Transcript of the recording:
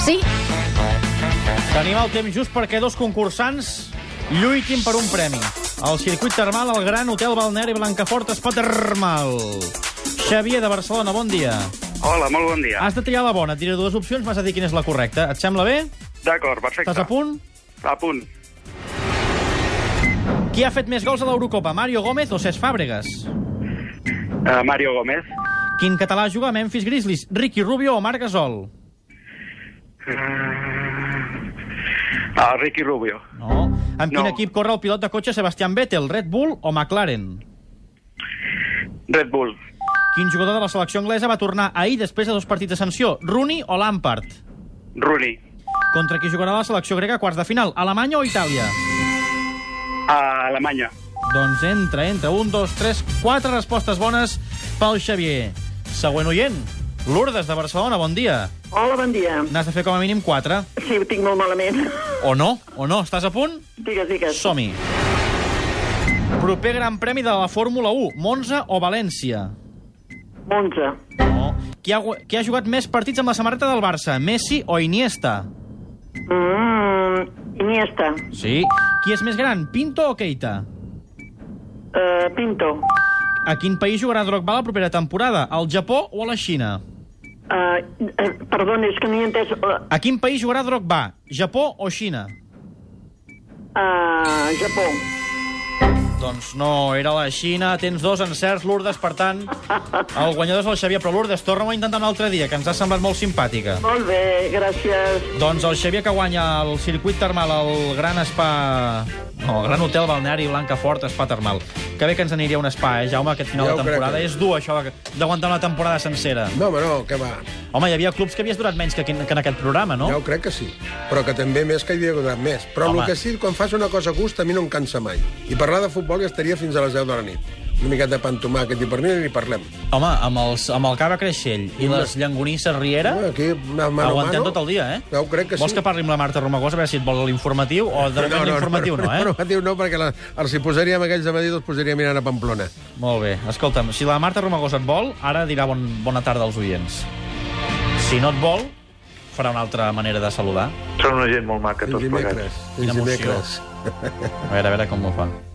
Sí, Tenim el temps just perquè dos concursants lluitin per un premi. Al circuit termal, al Gran Hotel Balneari Blancafort Spa Termal. Xavier, de Barcelona, bon dia. Hola, molt bon dia. Has de triar la bona, et diré dues opcions, m'has de dir quina és la correcta. Et sembla bé? D'acord, perfecte. Estàs a punt? A punt. Qui ha fet més gols a l'Eurocopa, Mario Gómez o Cesc Fàbregas? Uh, Mario Gómez. Quin català juga a Memphis Grizzlies, Ricky Rubio o Marc Gasol? Uh, Ricky Rubio. No. Amb quin No. equip corre el pilot de cotxe Sebastián Vettel, Red Bull o McLaren? Red Bull. Quin jugador de la selecció anglesa va tornar ahir després de dos partits de sanció, Rooney o Lampard? Rooney. Contra qui jugarà la selecció grega a quarts de final, Alemanya o Itàlia? A Alemanya. Doncs entra, entra. Un, dos, tres, quatre respostes bones pel Xavier. Següent oient, Lourdes, de Barcelona, bon dia. Hola, bon dia. N'has de fer com a mínim quatre. Sí, ho tinc molt malament. O no, o no. Estàs a punt? Digues, digues. Som-hi. Proper gran premi de la Fórmula 1, Monza o València? 11. No. Qui ha, gu- qui ha jugat més partits amb la samarreta del Barça, Messi o Iniesta? Mm, Iniesta. Sí. Qui és més gran, Pinto o Keita? Uh, Pinto. A quin país jugarà Drogba la propera temporada, al Japó o a la Xina? Uh, uh, perdona, és que no hi he entès... Uh, A quin país jugarà Drogba, Japó o Xina? uh, Japó. Doncs no, era la Xina. Tens dos encerts, Lourdes, per tant, el guanyador és el Xavier. Però Lourdes, torna a intentar un altre dia, que ens ha semblat molt simpàtica. Molt bé, gràcies. Doncs el Xavier que guanya el circuit termal al Gran Spa... No, al Gran Hotel Balneari Blancafort Spa Termal. Que bé que ens aniria un spa, eh, Jaume, aquest final Ja de ho temporada. crec. És dur, això, de- d'aguantar una temporada sencera. No, home, no, que va. Home, hi havia clubs que havies durat menys que, que en aquest programa, no? Ja ho crec que sí. Però que també més que hi havia donat més. Però Home. el que sí, quan fas una cosa a gust, a mi no em cansa mai. I parlar de futbol ja estaria fins a les 10 de la nit. Una miqueta de pan tomàquet i pernil i ni parlem. Home, amb, els, amb el cava Creixell i les llangonisses Riera... Bueno, aquí, mano a mano... Aguantem tot el dia, eh? Ja ho crec que Vols sí. que parli amb la Marta Romagosa, a veure si et vol l'informatiu, o de moment l'informatiu no, eh? Informatiu no, perquè la, els hi posaríem aquells de Madrid, els posaria mirant a Pamplona. Molt bé. Escolta'm, si la Marta Romagosa et vol, ara dirà bon, bona tarda als oients. Si no et vol, farà una altra manera de saludar. Són una gent molt maca, tota Fins tots plegats. dimecres. Fins Quina emoció. dimecres. A veure, a veure com ho fa.